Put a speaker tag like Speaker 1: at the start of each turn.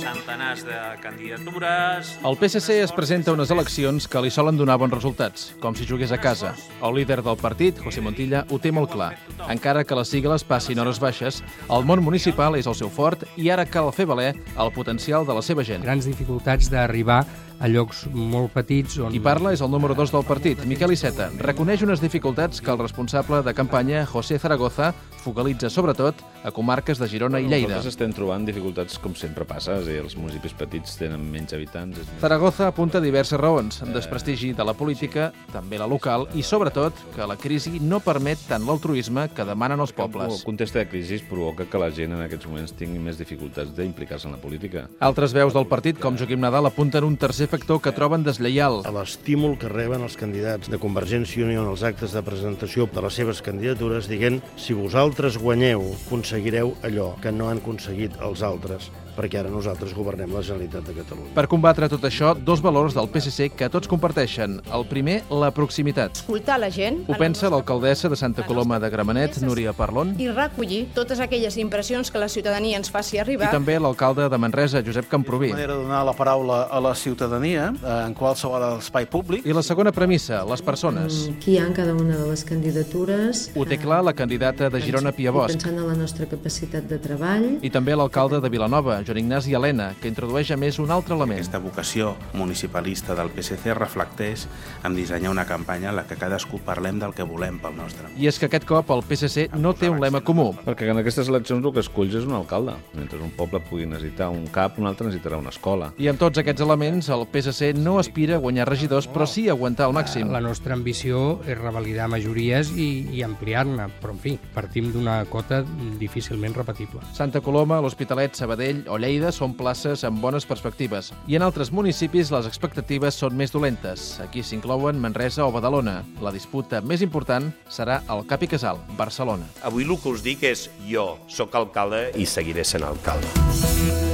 Speaker 1: centenars de candidatures...
Speaker 2: El PSC es presenta a unes eleccions que li solen donar bons resultats, com si jugués a casa. El líder del partit, José Montilla, ho té molt clar. Encara que les sigles passin hores baixes, el món municipal és el seu fort i ara cal fer valer el potencial de la seva gent.
Speaker 3: grans dificultats d'arribar a llocs molt petits on...
Speaker 2: Qui parla és el número 2 del partit, Miquel Iceta. Reconeix unes dificultats que el responsable de campanya, José Zaragoza, focalitza sobretot a comarques de Girona i Lleida.
Speaker 4: Nosaltres estem trobant dificultats com sempre passa, és a dir, els municipis petits tenen menys habitants. És...
Speaker 2: Zaragoza apunta diverses raons, desprestigi de la política, també la local, i sobretot que la crisi no permet tant l'altruisme que demanen els
Speaker 4: El
Speaker 2: pobles.
Speaker 4: context de crisi provoca que la gent en aquests moments tingui més dificultats d'implicar-se en la política.
Speaker 2: Altres veus del partit, com Joaquim Nadal, apunten un tercer factor que troben deslleial.
Speaker 5: a l'estímul que reben els candidats de Convergència i Unió en els actes de presentació de les seves candidatures dient si vosaltres guanyeu, aconseguireu allò que no han aconseguit els altres, perquè ara nosaltres governem la Generalitat de Catalunya.
Speaker 2: Per combatre tot això, dos valors del PSC que tots comparteixen. El primer, la proximitat.
Speaker 6: escoltar la gent
Speaker 2: Ho pensa l'alcaldessa de Santa Coloma de Gramenet, Núria Parlon,
Speaker 6: i recollir totes aquelles impressions que la ciutadania ens faci
Speaker 2: i
Speaker 6: arribar.
Speaker 2: també l'alcalde de Manresa, Josep Camproví.
Speaker 7: manera de donar la paraula a la ciutadania eh, en qualsevol espai públic.
Speaker 2: I la segona premissa, les persones.
Speaker 8: Qui hi ha en cada una de les candidatures.
Speaker 2: Ho té clar la candidata de Girona, Pia
Speaker 8: I
Speaker 2: Bosch.
Speaker 8: Pensant en la nostra capacitat de treball,
Speaker 2: I també l'alcalde de Vilanova, Joan Ignasi Helena, que introdueix a més un altre element.
Speaker 9: Aquesta vocació municipalista del PSC reflecteix en dissenyar una campanya en la que cadascú parlem del que volem pel nostre món.
Speaker 2: I és que aquest cop el PSC no té un lema comú.
Speaker 4: Perquè en aquestes eleccions el que esculls és un alcalde. Mentre un poble pugui necessitar un cap, un altre necessitarà una escola.
Speaker 2: I amb tots aquests elements, el PSC no aspira a guanyar regidors, però sí a aguantar al màxim.
Speaker 3: La nostra ambició és revalidar majories i, i ampliar-ne, però en fi, partim d'una cota difícilment repetible.
Speaker 2: Santa Coloma, l'Hospitalet, Sabadell o Lleida són places amb bones perspectives. I en altres municipis les expectatives són més dolentes. Aquí s'inclouen Manresa o Badalona. La disputa més important serà el Cap i Casal, Barcelona.
Speaker 10: Avui el que us dic és jo sóc alcalde i seguiré sent alcalde.